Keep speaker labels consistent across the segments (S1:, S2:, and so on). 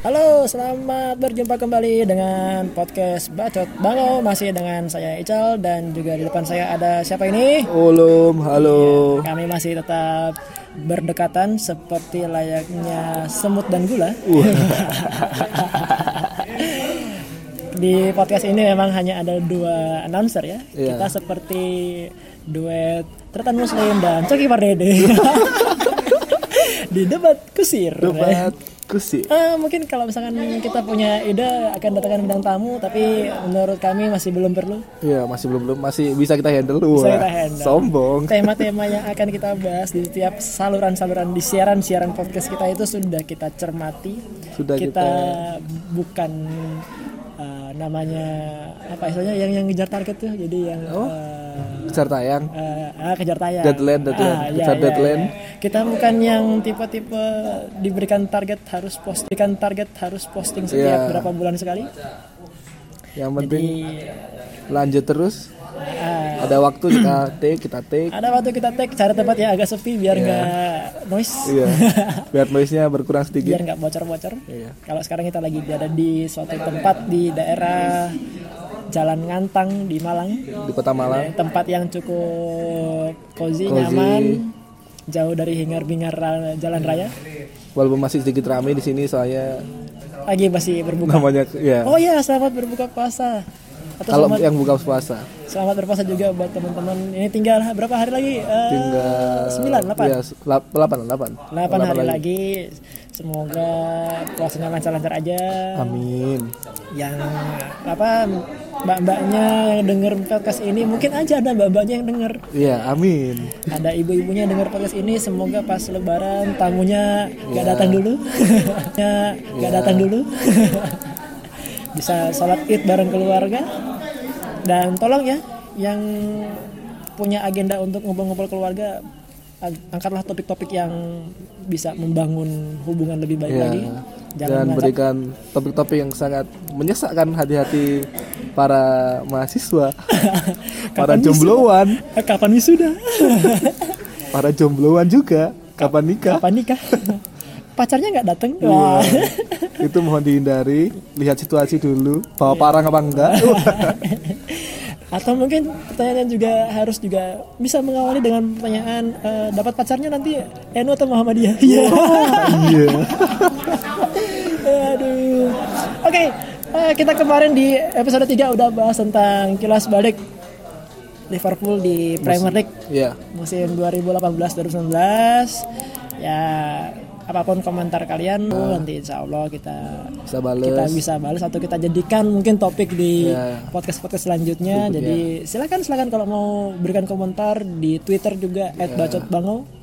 S1: Halo, selamat berjumpa kembali dengan podcast Bacot Bangau Masih dengan saya Ical dan juga di depan saya ada siapa ini?
S2: Ulum, halo.
S1: Kami masih tetap berdekatan seperti layaknya semut dan gula Iya. Di podcast ini memang hanya ada dua announcer ya
S2: Iya.
S1: Kita seperti duet Tretan Muslim dan Coki Pardede Di debat kusir
S2: Debat kusi.
S1: Eh, mungkin kalau misalkan kita punya ide akan datangkan bintang tamu, tapi menurut kami masih belum perlu.
S2: Iya, masih belum belum masih bisa kita handle.
S1: Bisa
S2: Wah,
S1: kita handle.
S2: Sombong.
S1: Tema-tema yang akan kita bahas di tiap saluran-saluran di siaran-siaran podcast kita itu sudah kita cermati.
S2: Sudah
S1: kita,
S2: kita-
S1: bukan eh, namanya apa istilahnya yang yang ngejar target tuh, jadi yang eh,
S2: Kejar tayang.
S1: Eh, ah, kejar tayang.
S2: Oh. Deadline, deadline.
S1: Ah,
S2: Kejar deadline.
S1: Kita bukan yang tipe-tipe diberikan target harus post, diberikan target harus posting setiap
S2: Iya.
S1: berapa bulan sekali.
S2: Yang penting
S1: Di-
S2: lanjut terus.
S1: ah,
S2: Ada waktu kita take, kita take.
S1: ada waktu kita tag cari tempat yang agak sepi biar nggak noise,
S2: Iya. Biar noise-nya berkurang sedikit.
S1: biar nggak bocor-bocor.
S2: Iya.
S1: Kalau sekarang kita lagi berada di suatu tempat di daerah Jalan Ngantang di Malang.
S2: Iya. Di Kota Malang.
S1: tempat yang cukup cozy,
S2: Cozy.
S1: nyaman jauh dari hingar-bingar ra- jalan raya
S2: Walaupun masih sedikit rame di sini soalnya
S1: lagi masih berbuka
S2: namanya ya.
S1: oh ya selamat berbuka puasa atau
S2: Kalau
S1: selamat
S2: yang buka puasa
S1: selamat berpuasa juga buat teman-teman ini tinggal berapa hari lagi Eh,
S2: tinggal
S1: sembilan delapan
S2: Iya, se- lap- delapan, delapan.
S1: delapan hari lagi. semoga puasanya lancar-lancar aja
S2: Amin.
S1: yang apa mbak-mbaknya yang denger podcast ini mungkin aja ada mbak-mbaknya yang denger
S2: Iya, amin.
S1: ada ibu-ibunya dengar podcast ini semoga pas lebaran tamunya nggak
S2: Iya.
S1: datang dulu Ya, nggak datang dulu bisa sholat id bareng keluarga dan tolong ya yang punya agenda untuk ngumpul-ngumpul keluarga ag- angkatlah topik-topik yang bisa membangun hubungan lebih baik
S2: Iya.
S1: lagi jangan
S2: dan
S1: mengangkat-
S2: berikan topik-topik yang sangat menyesakkan hati-hati para mahasiswa, para
S1: Kapan
S2: jombloan,
S1: Eh, kapan wisuda
S2: para jombloan juga. Kapan nikah?
S1: kapan nikah pacarnya nggak datang
S2: Iya.
S1: Wah.
S2: Itu mohon dihindari. Lihat situasi dulu. Bawa parang apa enggak?
S1: Atau mungkin pertanyaan yang juga harus juga bisa mengawali dengan pertanyaan eh, dapat pacarnya nanti NU atau Muhammadiyah. Iya.
S2: Iya.
S1: Aduh. Oke, eh, kita kemarin di episode 3 udah bahas tentang kilas balik Liverpool di Premier League
S2: Iya.
S1: musim 2018-2019. Ya, apapun komentar kalian nanti insya Allah kita
S2: Bisa
S1: kita
S2: bales.
S1: bisa balas atau kita jadikan mungkin topik di
S2: Ya.
S1: podcast podcast selanjutnya. Jadi silakan silakan kalau mau berikan komentar di Twitter juga @bacotbangau.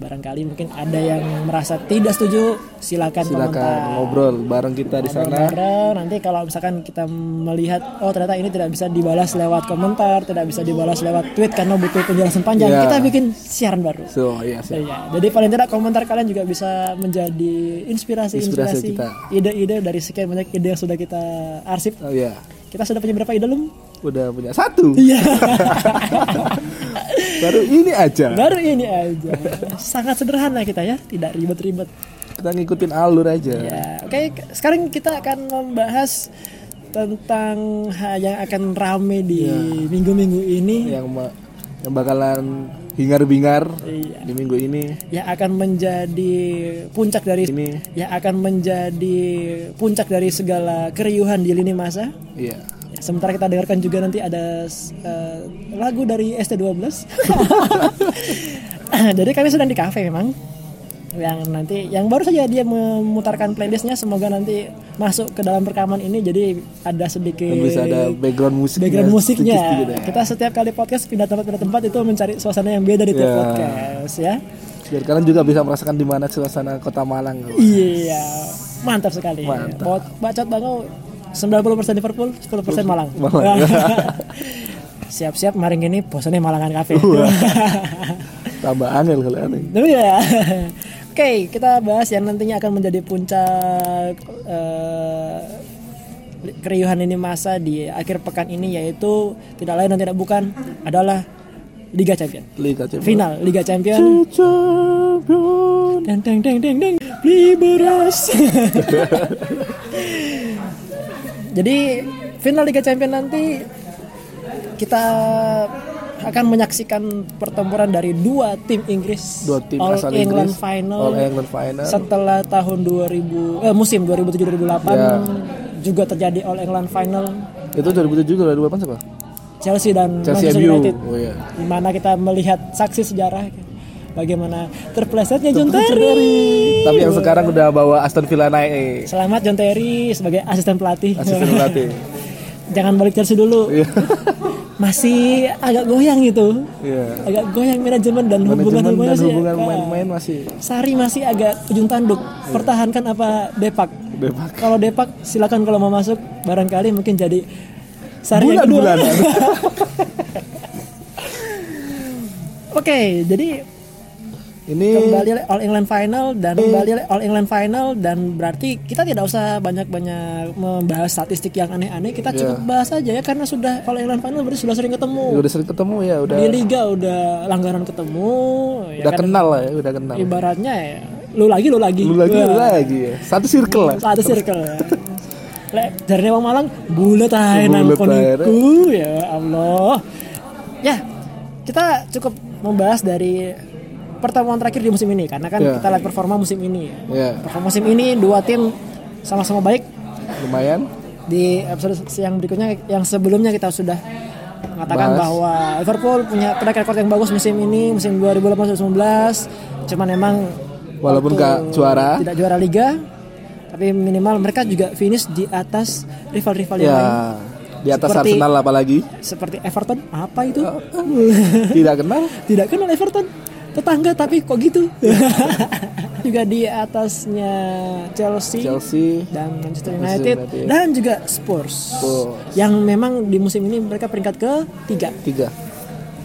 S1: Barangkali mungkin ada yang merasa tidak setuju, silakan, komentar.
S2: Silakan ngobrol bareng kita di sana.
S1: Bareng. Nanti kalau misalkan kita melihat oh ternyata ini tidak bisa dibalas lewat komentar, tidak bisa dibalas lewat tweet karena butuh penjelasan panjang,
S2: Ya.
S1: kita bikin siaran baru.
S2: So, iya sih.
S1: Iya, jadi paling tidak komentar kalian juga bisa menjadi inspirasi
S2: Inspirasi
S1: inspirasi
S2: kita.
S1: ide-ide dari sekian banyak ide yang sudah kita arsip.
S2: Oh iya.
S1: Kita sudah punya berapa ide lum?
S2: Udah punya satu.
S1: Iya.
S2: Baru ini aja.
S1: Baru ini aja. Sangat sederhana kita ya, tidak ribet-ribet.
S2: Kita ngikutin alur aja.
S1: Ya, oke. ke- Sekarang kita akan membahas tentang ha- yang akan rame di minggu-minggu ini
S2: Yang ma- yang bakalan hingar-bingar
S1: Iya.
S2: di minggu ini.
S1: yang akan menjadi puncak dari
S2: Ini.
S1: yang akan menjadi puncak dari segala keriuhan di lini masa.
S2: Iya.
S1: Ya, Sementara kita dengarkan juga nanti ada eh, lagu dari ST12. Jadi kami sedang di kafe memang. Yang nanti yang baru saja dia memutarkan playlistnya semoga nanti masuk ke dalam rekaman ini jadi ada sedikit
S2: Dan bisa ada background
S1: Iya,
S2: musiknya.
S1: background musiknya.
S2: sedikit-sedikit ya.
S1: Kita setiap kali podcast pindah tempat pindah tempat itu mencari suasana yang beda di tiap
S2: Ya.
S1: podcast ya.
S2: Biar kalian juga bisa merasakan di mana suasana kota Malang.
S1: Iya. Mantap sekali.
S2: Mantap.
S1: Bot- Bacot Bangau 90% Liverpool, 10% Malang.
S2: Malang.
S1: Siap-siap maring ini bosannya Malangan Cafe.
S2: Tambah angel kalian nih.
S1: Tapi ya. Oke, kita bahas yang nantinya akan menjadi puncak eh, keriuhan ini masa di akhir pekan ini yaitu tidak lain dan tidak bukan adalah Liga Champion.
S2: Liga Champions.
S1: Final Liga Champion. Deng deng deng deng deng beli beras. Jadi final Liga Champions nanti kita akan menyaksikan pertempuran dari dua tim Inggris
S2: Dua tim
S1: All
S2: asal
S1: England
S2: Inggris,
S1: Final
S2: All England Final.
S1: setelah tahun 2000 eh, musim 2007-2008
S2: Ya.
S1: juga terjadi All England Final
S2: Itu 2007 2008 siapa?
S1: Chelsea dan
S2: Chelsea
S1: Manchester
S2: MU.
S1: United
S2: Oh iya.
S1: di mana kita melihat saksi sejarah bagaimana terplesetnya John
S2: Terpleset John
S1: Terry.
S2: Tapi yang sekarang udah bawa Aston Villa naik. eh.
S1: Selamat John Terry sebagai asisten pelatih.
S2: Asisten pelatih.
S1: Jangan balik Chelsea dulu.
S2: Iya.
S1: Masih agak goyang gitu.
S2: Iya.
S1: Agak goyang manajemen dan hubungan
S2: Manajemen
S1: hubungan ya,
S2: dan hubungan pemain-pemain masih
S1: Sari masih agak ujung tanduk. Pertahankan apa Depak?
S2: bebas.
S1: Kalau Depak silakan kalau mau masuk barangkali mungkin jadi Sari yang kedua.
S2: Bulan-bulanan.
S1: Oke, jadi
S2: Ini
S1: kembali All England Final dan
S2: Eh.
S1: kembali All England Final dan berarti kita tidak usah banyak-banyak membahas statistik yang aneh-aneh
S2: Iya.
S1: kita cukup bahas aja ya karena sudah All England Final berarti sudah sering ketemu
S2: udah sering ketemu ya, udah
S1: di liga udah langgaran ketemu ya
S2: udah
S1: kan?
S2: kenal lah ya, udah kenal.
S1: ibaratnya ya lu lagi lu lagi
S2: Lu lagi lu
S1: Wah,
S2: lagi ya. Satu circle lah.
S1: satu circle ya. Lek dari Wong Malang bulat ae nang
S2: Bulet ae.
S1: koniku ya Allah. Ya, kita cukup membahas dari pertemuan terakhir di musim ini karena kan
S2: Ya.
S1: kita lihat performa musim ini.
S2: Ya,
S1: Performa musim ini dua tim sama-sama baik
S2: lumayan.
S1: di episode yang berikutnya yang sebelumnya kita sudah mengatakan
S2: Bahas.
S1: bahwa Liverpool punya track record yang bagus musim ini musim 2018-2019 cuman emang
S2: Walaupun
S1: waktu
S2: nggak juara.
S1: tidak juara liga tapi minimal mereka juga finish di atas rival-rival yang lain
S2: Ya, di atas
S1: Iya, Seperti-
S2: Arsenal apalagi.
S1: seperti Everton apa itu
S2: Tidak kenal.
S1: tidak kenal Everton tetangga tapi kok gitu juga di atasnya Chelsea
S2: Chelsea
S1: dan Manchester
S2: Manchester
S1: United,
S2: United. iya.
S1: dan juga Spurs,
S2: Spurs.
S1: yang memang di musim ini mereka peringkat ke tiga
S2: tiga.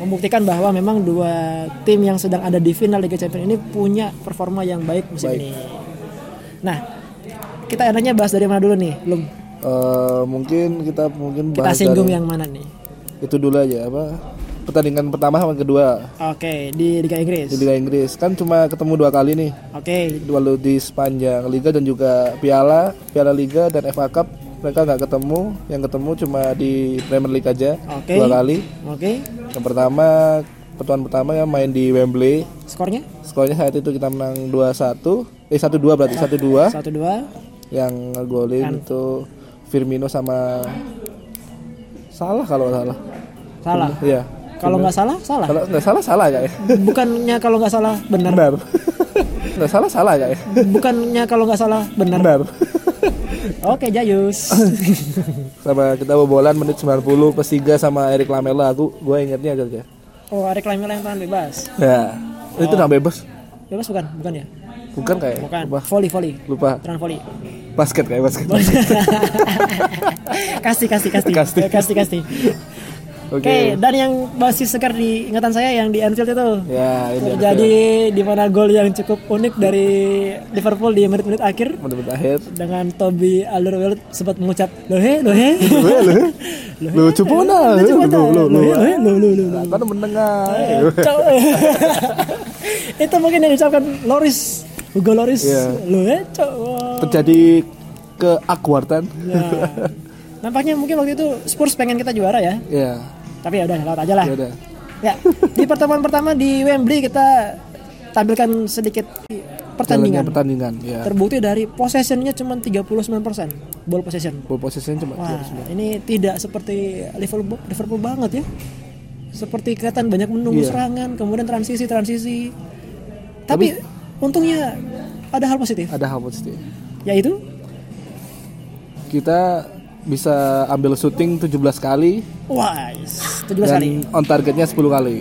S1: membuktikan bahwa memang dua tim yang sedang ada di final Liga Champions ini punya performa yang baik musim
S2: Baik.
S1: ini. Nah, kita enaknya bahas dari mana dulu nih, belum
S2: Eh, mungkin kita mungkin
S1: kita
S2: bahas
S1: singgung ya. yang
S2: dari-
S1: mana nih?
S2: itu dulu aja apa pertandingan pertama sama kedua
S1: Oke, di Liga Inggris.
S2: di Liga Inggris kan cuma ketemu dua kali nih
S1: Oke,
S2: walau di sepanjang liga dan juga piala piala liga dan FA Cup mereka nggak ketemu yang ketemu cuma di Premier League aja
S1: Oke.
S2: dua kali
S1: oke.
S2: yang pertama pertemuan pertama yang main di Wembley
S1: Skornya
S2: skornya saat itu kita menang 2-1 eh 1-2 berarti 1-2
S1: satu dua.
S2: yang
S1: Kan.
S2: golin itu Firmino sama salah kalau nggak salah
S1: Salah.
S2: iya
S1: Kalau nggak salah, salah.
S2: kalau nggak salah salah ya
S1: Bukannya kalau nggak salah benar.
S2: benar nggak salah salah ya
S1: Bukannya kalau nggak salah benar.
S2: benar
S1: Oke, Jayus.
S2: sama kita bobolan menit 90 plus 3 sama Erik Lamela aku gue ingetnya aja ya
S1: oh, reklame yang tangan bebas.
S2: ya itu udah bebas
S1: Bebas bukan? Bukan ya?
S2: bukan kayak
S1: Oh. Bukan.
S2: lupa
S1: Volley, volley.
S2: lupa
S1: Terang volley.
S2: basket kayak basket oke
S1: kasih, kasih, kasih.
S2: Kasih.
S1: Eh, kasih, kasih. Oke, dan yang masih segar di ingatan saya yang di Anfield itu.
S2: ya ini
S1: Terjadi di mana gol yang cukup unik dari Liverpool di menit-menit akhir
S2: menit akhir
S1: dengan Toby Alderweireld sempat mengucap lohe lohe
S2: Lohe, lohe. lu cupu nah lu lu lu lu
S1: lohe lohe lohe lohe.
S2: kan mendengar
S1: Kacau. Eh, itu mungkin yang diucapkan Loris Hugo Loris eh,
S2: Iya.
S1: lohe cowok
S2: terjadi keakwartan
S1: Ya. Nampaknya mungkin waktu itu Spurs pengen kita juara ya.
S2: ya
S1: Tapi ya udah lewat aja lah.
S2: ya udah
S1: Ya, di pertemuan pertama di Wembley kita tampilkan sedikit
S2: jalannya
S1: pertandingan.
S2: pertandingan ya
S1: Terbukti dari possessionnya cuma 39% ball possession.
S2: ball possession cuma
S1: Wah, ini tidak seperti Liverpool Liverpool banget ya. Seperti kelihatan banyak menunggu
S2: Iya.
S1: serangan, kemudian transisi-transisi. Tapi, untungnya ada hal positif,
S2: ada hal positif
S1: yaitu
S2: kita bisa ambil syuting 17 kali
S1: wah, 17
S2: dan
S1: kali.
S2: on targetnya 10 kali.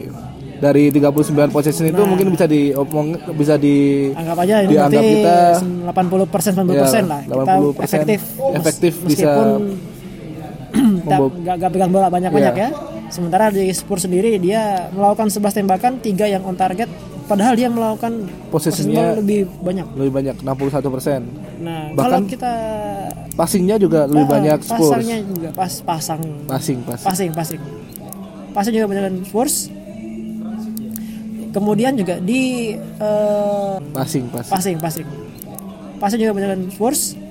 S2: Dari 39 possession itu mungkin bisa diomong bisa di
S1: Nah. anggap aja ini
S2: Dianggap
S1: berarti
S2: kita-
S1: 80 persen 90
S2: Ya,
S1: lah kita
S2: 80%.
S1: efektif
S2: Efektif
S1: Mes-
S2: bisa
S1: meskipun kita
S2: membawa-
S1: nggak nggak pegang bola banyak banyak
S2: Iya.
S1: ya sementara di Spurs sendiri dia melakukan 11 tembakan tiga yang on target padahal dia melakukan posisinya
S2: Posisinya-
S1: lebih banyak
S2: lebih banyak 61 persen.
S1: nah
S2: Bahkan
S1: kalau kita
S2: Passingnya juga
S1: Ah,
S2: lebih banyak Spurs.
S1: pasangnya juga pas pasang
S2: Passing, passing.
S1: passing passing passing juga dengan Spurs kemudian juga di eh,
S2: Passing, passing.
S1: passing passing passing juga dengan Spurs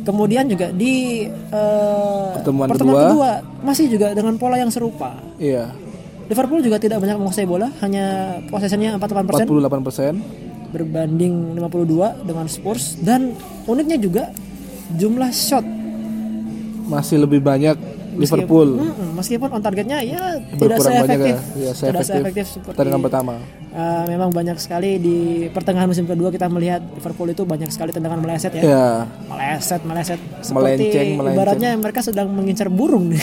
S1: Kemudian juga di eh,
S2: Pertemuan
S1: pertemuan
S2: kedua.
S1: kedua masih juga dengan pola yang serupa.
S2: Iya.
S1: Liverpool juga tidak banyak menguasai bola, hanya possessionnya 48%
S2: 48 persen.
S1: berbanding 52 dengan Spurs dan uniknya juga jumlah shot
S2: Masih lebih banyak Liverpool. Eh,
S1: Mm-mm, meskipun on targetnya ya Hmm? tidak
S2: Berkurang banyak
S1: seefektif, tidak
S2: ya. efektif.
S1: seefektif seperti
S2: Pertandingan pertama.
S1: Eh, memang banyak sekali di pertengahan musim kedua kita melihat Liverpool itu banyak sekali tendangan meleset ya.
S2: Ya.
S1: Meleset, meleset seperti
S2: Melenceng, melenceng.
S1: ibaratnya mereka sedang mengincar burung nih.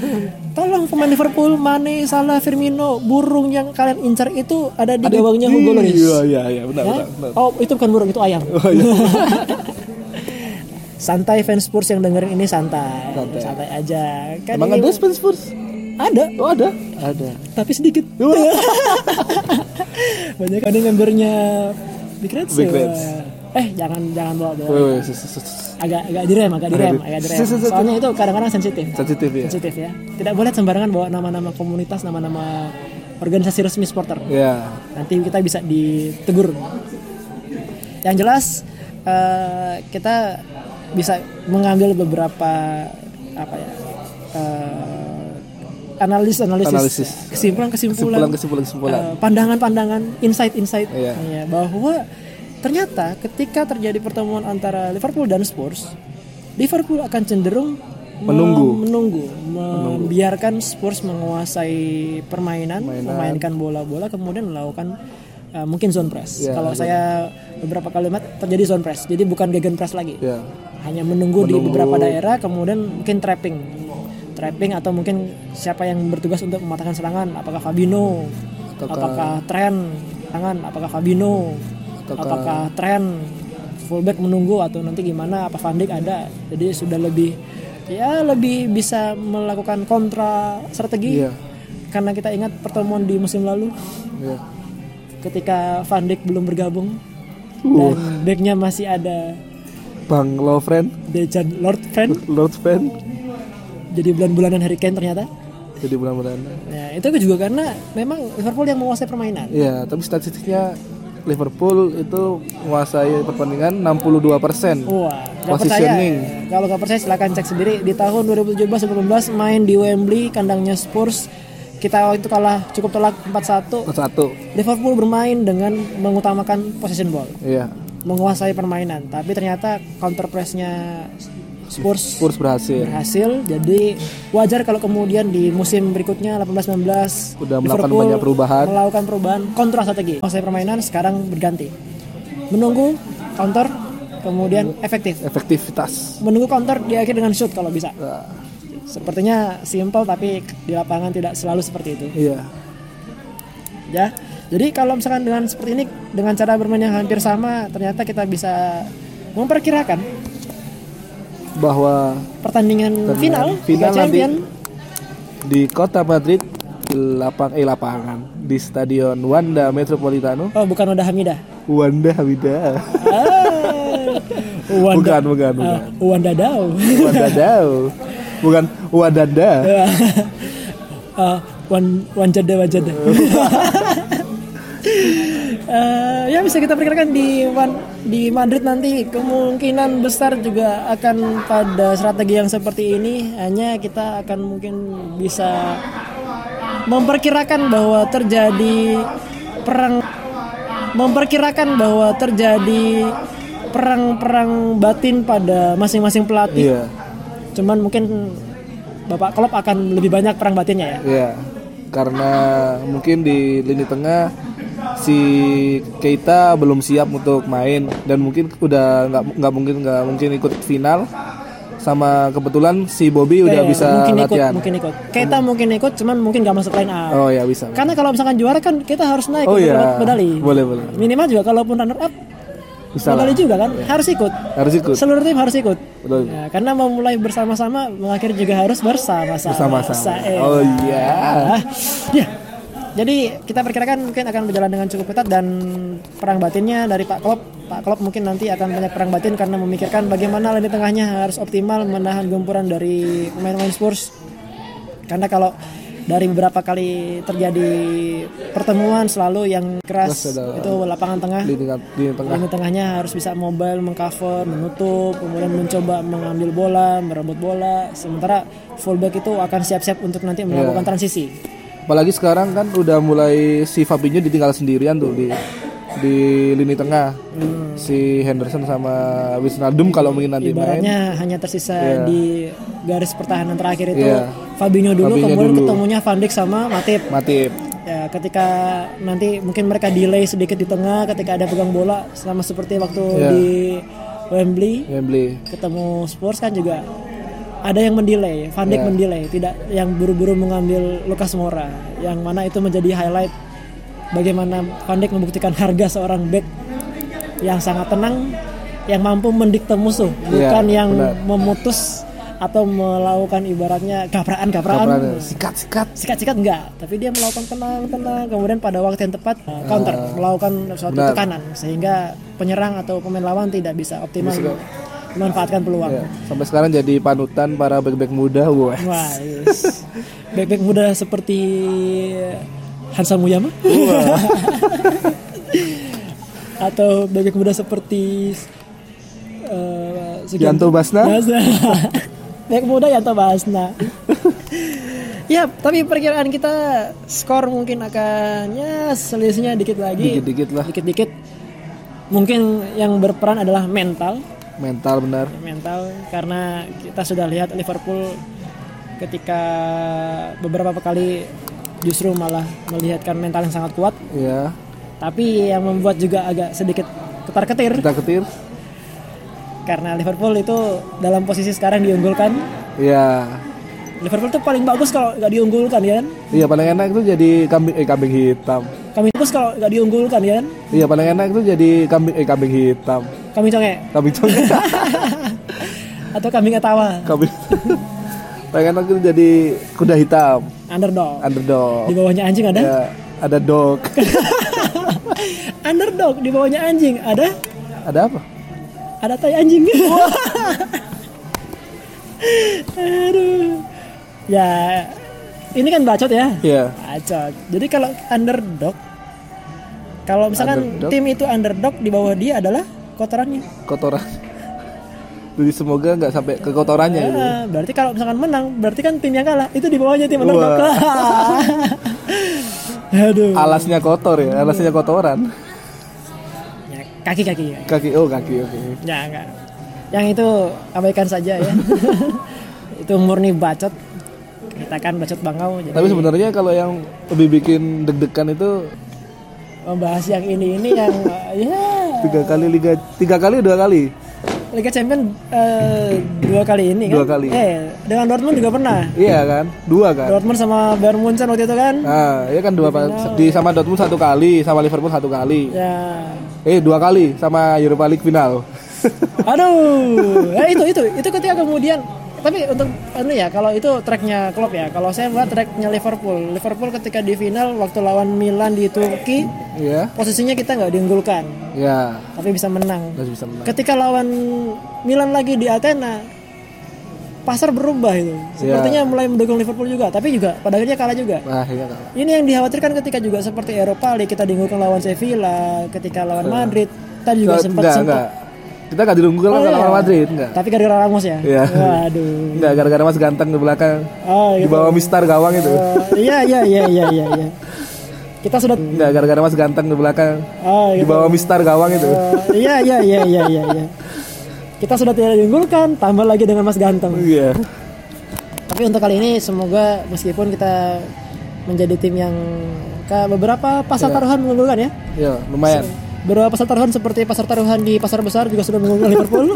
S1: Tolong pemain Liverpool, Mane, Salah, Firmino, burung yang kalian incar itu ada di gawangnya Hugo Lloris.
S2: Iya, iya, iya, benar,
S1: Ya?
S2: benar, benar.
S1: Oh, itu bukan burung, itu ayam.
S2: Oh, iya.
S1: santai fans Spurs yang dengerin ini santai.
S2: Santai.
S1: Santai, aja. Kan
S2: Emang
S1: ini-
S2: ada Spurs Spurs?
S1: Ada,
S2: Oh, ada. Ada.
S1: tapi sedikit.
S2: Iya.
S1: Banyak ada membernya Big Reds.
S2: Big Reds.
S1: Eh, jangan jangan bawa bawa.
S2: Wih, wih, sus, sus, sus.
S1: Agak agak direm, agak direm,
S2: Agak di-
S1: agak direm.
S2: Sus, sus, sus.
S1: Soalnya itu kadang-kadang sensitif.
S2: sensitif ya.
S1: Sensitif ya. Tidak boleh sembarangan bawa nama-nama komunitas, nama-nama organisasi resmi supporter.
S2: Ya.
S1: nanti kita bisa ditegur. Yang jelas eh, kita bisa mengambil beberapa apa ya eh, analisis analisis,
S2: Analisis.
S1: kesimpulan kesimpulan
S2: Kesimpulan, kesimpulan, kesimpulan.
S1: eh, pandangan pandangan insight insight
S2: Iya.
S1: bahwa ternyata ketika terjadi pertemuan antara Liverpool dan Spurs Liverpool akan cenderung
S2: Menunggu.
S1: mem- menunggu membiarkan Spurs menguasai permainan memainkan bola-bola kemudian melakukan uh, mungkin zone press.
S2: Ya,
S1: Kalau
S2: ya.
S1: saya beberapa kalimat terjadi zone press. Jadi bukan gegen press lagi.
S2: Ya.
S1: Hanya menunggu, di
S2: Menunggu.
S1: beberapa daerah kemudian mungkin trapping. Trapping atau mungkin siapa yang bertugas untuk mematahkan serangan, apakah Fabino,
S2: Ataukah-
S1: apakah Tren, tangan, apakah Fabino,
S2: Ataukah-
S1: apakah Tren fullback menunggu atau nanti gimana apa Van Dijk ada. Jadi sudah lebih ya lebih bisa melakukan kontra strategi.
S2: Iya.
S1: Karena kita ingat pertemuan di musim lalu
S2: Ya.
S1: ketika Van Dijk belum bergabung dan
S2: Uh.
S1: backnya masih ada
S2: Bang Lovren,
S1: Dejan Lord Friend
S2: Lord Fan.
S1: jadi bulan-bulanan Harry Kane ternyata
S2: Jadi bulan-bulan.
S1: nah itu juga karena memang Liverpool yang menguasai permainan
S2: Ya, tapi statistiknya Liverpool itu menguasai pertandingan 62 persen.
S1: wah nggak percaya
S2: Positioning.
S1: kalau nggak percaya silahkan cek sendiri di tahun 2017-18 main di Wembley kandangnya Spurs kita waktu itu kalah cukup telak 4-1
S2: Satu.
S1: Liverpool bermain dengan mengutamakan possession ball
S2: Iya.
S1: menguasai permainan tapi ternyata counter pressnya Spurs
S2: Spurs berhasil.
S1: berhasil jadi wajar kalau kemudian di musim berikutnya 18-19
S2: Udah melakukan
S1: Liverpool
S2: banyak perubahan.
S1: melakukan perubahan kontra strategi Menguasai permainan sekarang berganti menunggu counter kemudian efektif
S2: Efektivitas.
S1: menunggu counter di akhir dengan shoot kalau bisa
S2: Nah,
S1: sepertinya simple tapi di lapangan tidak selalu seperti itu
S2: iya.
S1: ya jadi kalau misalkan dengan seperti ini dengan cara bermain yang hampir sama ternyata kita bisa memperkirakan
S2: Bahwa
S1: pertandingan final Liga
S2: final nanti.
S1: Champion
S2: di kota Madrid di lapang eh lapangan di stadion Wanda Metropolitano
S1: oh bukan Wanda Hamidah
S2: Wanda Hamida
S1: Ah, Wanda
S2: bukan bukan bukan
S1: ah, Wanda Dao.
S2: Wanda Dao bukan Wadanda
S1: Ah, Wan Wanjada Wanjada. Eh, ya bisa kita perkirakan di Wan- di Madrid nanti kemungkinan besar juga akan pada strategi yang seperti ini hanya kita akan mungkin bisa memperkirakan bahwa terjadi perang memperkirakan bahwa terjadi perang-perang batin pada masing-masing pelatih
S2: iya
S1: Cuman mungkin Bapak Klopp akan lebih banyak perang batinnya ya.
S2: iya karena mungkin di lini tengah si Keita belum siap untuk main dan mungkin udah nggak nggak mungkin nggak mungkin ikut final sama kebetulan si Bobby udah
S1: Kayak
S2: bisa
S1: Iya, mungkin
S2: Eh, latihan
S1: ikut, mungkin ikut. Kita mungkin ikut, cuman mungkin nggak masuk line up.
S2: oh ya bisa
S1: Karena kalau misalkan juara kan kita harus naik
S2: oh
S1: untuk
S2: ya
S1: dapat medali.
S2: boleh boleh
S1: Minimal juga kalaupun runner up
S2: bisa lah.
S1: medali juga kan, harus ikut.
S2: harus ikut
S1: Seluruh tim harus ikut.
S2: Betul.
S1: Ya, karena memulai bersama-sama, mengakhiri juga harus bersama-sama.
S2: Bersama-sama.
S1: Sae.
S2: Oh, iya.
S1: Ya. Jadi kita perkirakan mungkin akan berjalan dengan cukup ketat dan perang batinnya dari Pak Klopp. Pak Klopp mungkin nanti akan banyak perang batin karena memikirkan bagaimana lini tengahnya harus optimal menahan gempuran dari pemain-pemain Spurs. Karena kalau dari beberapa kali terjadi pertemuan selalu yang keras
S2: Keras adalah
S1: itu lapangan tengah
S2: lini, lini tengah
S1: lini tengahnya harus bisa mobile mengcover menutup kemudian mencoba mengambil bola merebut bola sementara fullback itu akan siap-siap untuk nanti melakukan transisi
S2: apalagi sekarang kan udah mulai si Fabinho ditinggal sendirian tuh di di lini tengah si Henderson sama Wijnaldum kalau mungkin nanti main
S1: ibaratnya hanya tersisa di garis pertahanan terakhir itu
S2: Iya.
S1: Fabinho dulu
S2: Fabinho
S1: kemudian
S2: dulu.
S1: ketemunya Van Dijk sama Matip
S2: Matip
S1: Ya, ketika nanti mungkin mereka delay sedikit di tengah ketika ada pegang bola sama seperti waktu
S2: Iya.
S1: di Wembley
S2: Wembley
S1: ketemu Spurs kan juga ada yang mendelay, Van
S2: Ya.
S1: Dijk mendelay, tidak yang buru-buru mengambil Lucas Moura, yang mana itu menjadi highlight bagaimana Van Dijk membuktikan harga seorang back yang sangat tenang, yang mampu mendikte musuh,
S2: Iya,
S1: bukan yang
S2: benar.
S1: memutus atau melakukan ibaratnya kapraan-kapraan
S2: Kapraan, sikat sikat
S1: sikat-sikat enggak tapi dia melakukan tenang-tenang kemudian pada waktu yang tepat uh, counter melakukan suatu
S2: benar.
S1: tekanan sehingga penyerang atau pemain lawan tidak bisa optimal memanfaatkan peluang
S2: Ya, sampai sekarang jadi panutan para back-back muda wah
S1: wah yes. back-back muda seperti Hansa Muyama atau back-back muda seperti uh, Sugianto
S2: Yanto Basna
S1: Basna. Back muda Yanto Basna. ya, tapi perkiraan kita skor mungkin akan ya selisihnya dikit lagi.
S2: dikit-dikit lah
S1: Dikit-dikit. Mungkin yang berperan adalah mental, Ya,
S2: mental benar
S1: mental karena kita sudah lihat Liverpool ketika beberapa kali justru malah melihatkan mental yang sangat kuat,
S2: ya
S1: tapi yang membuat juga agak sedikit ketar-ketir
S2: kita ketir
S1: karena Liverpool itu dalam posisi sekarang diunggulkan
S2: ya
S1: Liverpool tuh paling bagus kalau nggak diunggulkan ya kan?
S2: iya paling enak itu jadi kambing eh kambing hitam
S1: Kami bagus kalau nggak diunggulkan ya kan?
S2: iya paling enak itu jadi kambing eh kambing hitam
S1: Kami conge
S2: kambing congkak
S1: atau kami ngetawa
S2: Kambing. Paling enak itu jadi kuda hitam,
S1: underdog. Di
S2: underdog.
S1: bawahnya anjing ada
S2: Ya, ada dog.
S1: underdog. Di bawahnya anjing ada
S2: ada apa?
S1: ada tai anjing. Aduh. Ya ini kan bacot ya.
S2: Ya,
S1: Bacot. Jadi kalau underdog kalau misalkan
S2: Underdog.
S1: tim itu underdog di bawah dia adalah kotorannya.
S2: kotoran. Jadi semoga nggak sampai ke kotorannya gitu.
S1: Ah, berarti kalau misalkan menang, berarti kan tim yang kalah itu di bawahnya tim menang.
S2: Wah. Ah.
S1: Aduh.
S2: Alasnya kotor ya, alasnya kotoran.
S1: Ya, kaki kaki. kaki.
S2: Kaki oh kaki oke.
S1: Ya enggak. Yang itu abaikan saja ya. itu murni bacot. Kita kan bacot bangau jadi
S2: Tapi sebenarnya kalau yang lebih bikin deg-degan itu
S1: membahas yang ini ini yang ya
S2: tiga kali liga tiga kali dua kali
S1: Liga Champion eh, dua kali ini kan.
S2: Dua kali.
S1: Eh, dengan Dortmund juga pernah.
S2: iya kan dua kan
S1: Dortmund sama Bayern Munchen waktu itu kan.
S2: nah iya kan dua di sama Dortmund satu kali sama Liverpool satu kali
S1: Ya,
S2: eh dua kali sama Europa League final
S1: Aduh, ya itu itu itu ketika kemudian tapi untuk anu ya kalau itu tracknya Klopp ya kalau saya buat tracknya Liverpool Liverpool ketika di final waktu lawan Milan di Turki
S2: Iya,
S1: posisinya kita nggak diunggulkan
S2: ya,
S1: tapi bisa menang
S2: harus bisa menang.
S1: ketika lawan Milan lagi di Athena pasar berubah itu
S2: Iya.
S1: sepertinya mulai mendukung Liverpool juga tapi juga pada akhirnya kalah juga
S2: Nah, akhirnya kalah.
S1: ini yang dikhawatirkan ketika juga seperti Eropa League kita diunggulkan lawan Sevilla ketika lawan Madrid tadi juga
S2: Iya. Enggak,
S1: sempat
S2: enggak,
S1: sempat
S2: enggak. Kita enggak dirunggul kan lawan Madrid, enggak.
S1: Tapi gara-gara Ramos ya?
S2: Iya.
S1: Waduh.
S2: Enggak gara-gara Mas ganteng di belakang
S1: Oh,
S2: di
S1: gitu.
S2: bawah mistar gawang itu.
S1: Eh, iya, iya, iya, iya, iya, iya. Kita sudah
S2: Enggak gara-gara Mas ganteng di belakang
S1: oh,
S2: di
S1: gitu.
S2: bawah mistar gawang itu.
S1: Eh, iya, iya, iya, iya, iya, iya. Kita sudah tidak diunggulkan, tambah lagi dengan Mas Ganteng.
S2: Iya.
S1: Tapi untuk kali ini semoga meskipun kita menjadi tim yang ke beberapa pasar taruhan mengunggulkan ya.
S2: Ya, lumayan.
S1: Beberapa pasar taruhan seperti pasar taruhan di pasar besar juga sudah mengunggulkan Liverpool.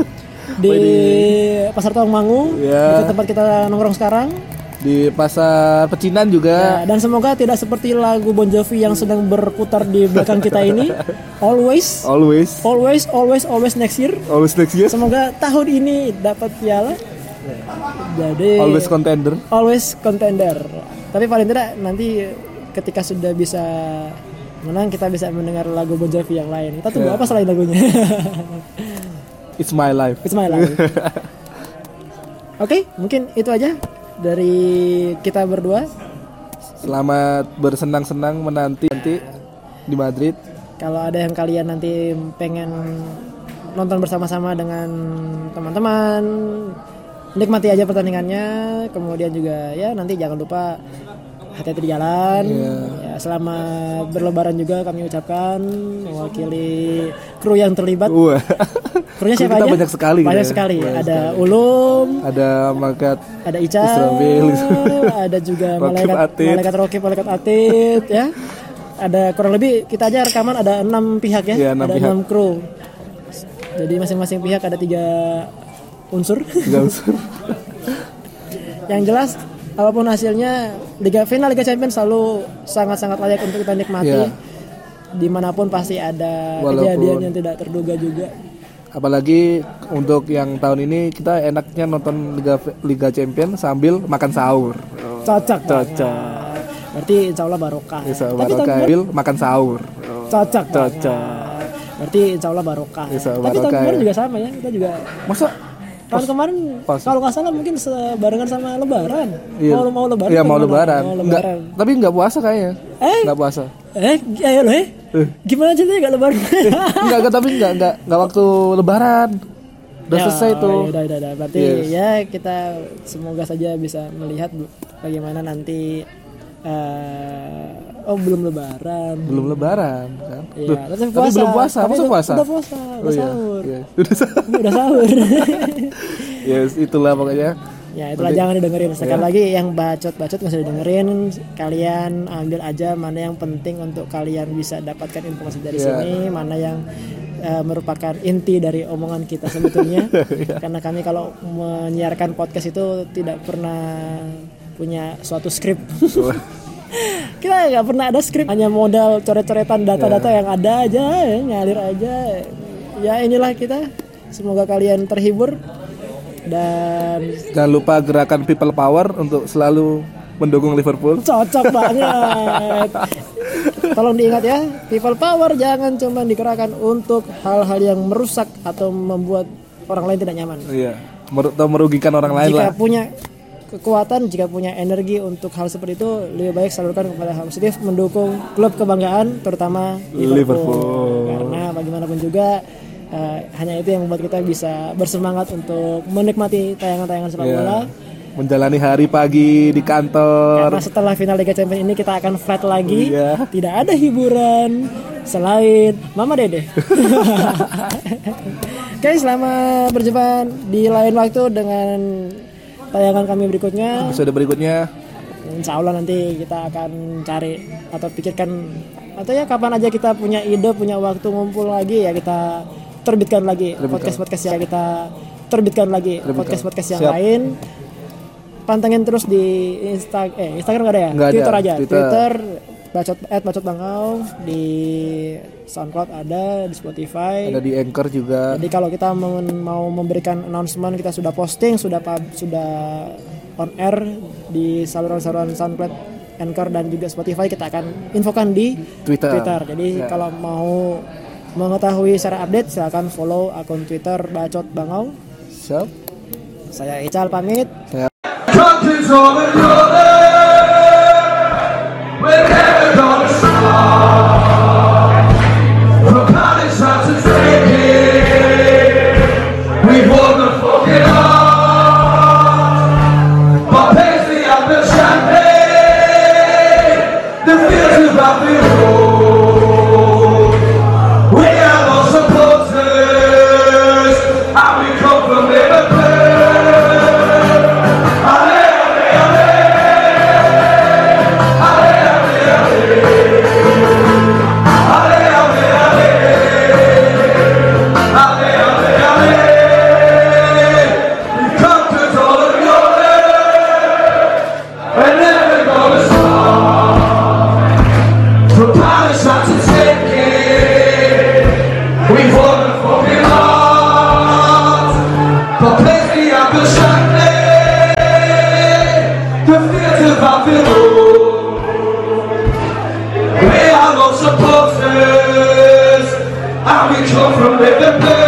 S1: di pasar Tawangmangu, di
S2: Iya.
S1: tempat kita nongkrong sekarang.
S2: Di pasar Pecinan juga
S1: Ya, dan semoga tidak seperti lagu Bon Jovi yang sedang berputar di belakang kita ini. Always,
S2: always
S1: always, always, always next year.
S2: always next year,
S1: Semoga tahun ini dapat piala. Jadi
S2: always contender.
S1: always contender. Tapi paling tidak nanti ketika sudah bisa menang kita bisa mendengar lagu Bon Jovi yang lain. Kita tunggu apa selain lagunya?
S2: It's my life.
S1: It's my life. Oke, mungkin itu aja dari kita berdua.
S2: Selamat bersenang-senang menanti nanti di Madrid.
S1: Kalau ada yang kalian nanti pengen nonton bersama-sama dengan teman-teman, nikmati aja pertandingannya. Kemudian juga ya nanti jangan lupa hati-hati di jalan.
S2: Iya.
S1: Ya, selamat berlebaran juga kami ucapkan mewakili kru yang terlibat.
S2: Wah.
S1: Krunya
S2: Kru
S1: siapa
S2: kita
S1: aja?
S2: banyak sekali
S1: Banyak
S2: gitu ya.
S1: sekali.
S2: Banyak
S1: ada Ulum,
S2: Ada Makat
S1: ada Ica,
S2: Israfil.
S1: ada juga
S2: Rokib
S1: malaikat
S2: Atit.
S1: malaikat Rokib, malaikat Atit ya. Ada kurang lebih kita aja rekaman ada enam pihak ya,
S2: Iya, enam
S1: ada
S2: pihak.
S1: enam kru. Jadi masing-masing pihak ada tiga unsur.
S2: Gak usah.
S1: Yang jelas apapun hasilnya Liga final Liga Champions selalu sangat-sangat layak untuk kita nikmati.
S2: Iya.
S1: Dimanapun pasti ada
S2: Walaupun-
S1: kejadian yang tidak terduga juga.
S2: Apalagi untuk yang tahun ini kita enaknya nonton Liga Liga Champion sambil makan sahur.
S1: Cocok.
S2: Oh. Cocok.
S1: banget. Berarti insya Allah barokah. Tapi
S2: Bisa
S1: tahun
S2: barokah sambil makan sahur.
S1: cocok
S2: Cocok.
S1: banget. berarti insya Allah barokah
S2: Insya Allah
S1: tapi tahun
S2: barokah,
S1: kemarin
S2: ya.
S1: juga sama ya kita juga
S2: Masa
S1: tahun kemarin
S2: pas.
S1: kalau nggak salah mungkin sebarengan sama lebaran
S2: Iya.
S1: mau mau lebaran
S2: Iya
S1: atau
S2: mau
S1: gimana?
S2: lebaran.
S1: mau
S2: Nggak-
S1: lebaran
S2: tapi nggak puasa kayaknya.
S1: Eh?
S2: Nggak puasa.
S1: eh gi- ayo loh eh
S2: Eh.
S1: gimana ceritanya nggak lebaran
S2: Nggak, nggak, tapi nggak nggak nggak waktu lebaran. Udah
S1: Ya,
S2: selesai tuh.
S1: ya udah, udah, udah. berarti
S2: Yes.
S1: ya kita semoga saja bisa melihat bu- bagaimana nanti eh, oh belum lebaran
S2: Belum lebaran kan.
S1: Iya,
S2: Duh,
S1: tapi
S2: tapi
S1: puasa.
S2: belum puasa.
S1: Tapi
S2: Masa
S1: udah-
S2: puasa?
S1: udah puasa, udah
S2: iya.
S1: sahur.
S2: Iya. Udah sahur.
S1: udah sahur
S2: Yes, itulah pokoknya.
S1: Ya itulah jangan didengerin sekali lagi yang bacot-bacot nggak usah didengerin kalian ambil aja mana yang penting untuk kalian bisa dapatkan informasi dari
S2: Iya.
S1: sini mana yang eh, merupakan inti dari omongan kita sebetulnya karena kami kalau menyiarkan podcast itu tidak pernah punya suatu skrip kita nggak pernah ada skrip hanya modal coret-coretan data-data yang ada aja ya, ngalir aja ya inilah kita semoga kalian terhibur dan
S2: Jangan lupa gerakan people power untuk selalu mendukung Liverpool.
S1: cocok banget. Tolong diingat ya, people power jangan cuma dikerahkan untuk hal-hal yang merusak atau membuat orang lain tidak nyaman.
S2: Iya. Mer- atau merugikan orang lain
S1: Jika
S2: lah.
S1: punya kekuatan, jika punya energi untuk hal seperti itu, lebih baik salurkan kepada hal positif, mendukung klub kebanggaan, terutama Liverpool.
S2: Liverpool.
S1: Karena bagaimanapun juga eh, hanya itu yang membuat kita bisa bersemangat untuk menikmati tayangan-tayangan sepak bola.
S2: Menjalani hari pagi di kantor.
S1: Karena setelah final Liga Champions ini kita akan flat lagi.
S2: Iya.
S1: Tidak ada hiburan selain Mama Dede. Oke, selamat berjumpa di lain waktu dengan tayangan kami berikutnya.
S2: Episode berikutnya
S1: Insya Allah nanti kita akan cari atau pikirkan atau ya kapan aja kita punya ide, punya waktu ngumpul lagi ya kita terbitkan lagi podcast-podcast yang kita terbitkan lagi podcast-podcast yang
S2: Siap.
S1: lain. Pantengin terus di Insta eh Instagram nggak ada ya?
S2: Nggak ada,
S1: Twitter aja.
S2: Twitter.
S1: Twitter, bacot at bacot bangau di SoundCloud ada di Spotify.
S2: ada di anchor juga.
S1: Jadi kalau kita mau- mau memberikan announcement kita sudah posting, sudah pub- sudah on air di saluran-saluran SoundCloud, Anchor dan juga Spotify kita akan infokan di
S2: Twitter. Ya,
S1: Twitter. Jadi kalau mau mengetahui secara update silakan follow akun Twitter Bacot Bangau.
S2: Siap.
S1: Saya Ical pamit.
S2: Saya
S3: Countries all in Europe, with heaven on the sky. From Paris out to Turkey, we won the fucking heart. But paisley and the champagne, the fields of Babylon. We are all supporters, and we come from Liverpool. Conquers all of Europe, and never gonna stop. From Paris out to Turkey, we won the fucking heart. But plenty of the champagne, the fields of Babylon. We are no supporters, and we come from Liverpool.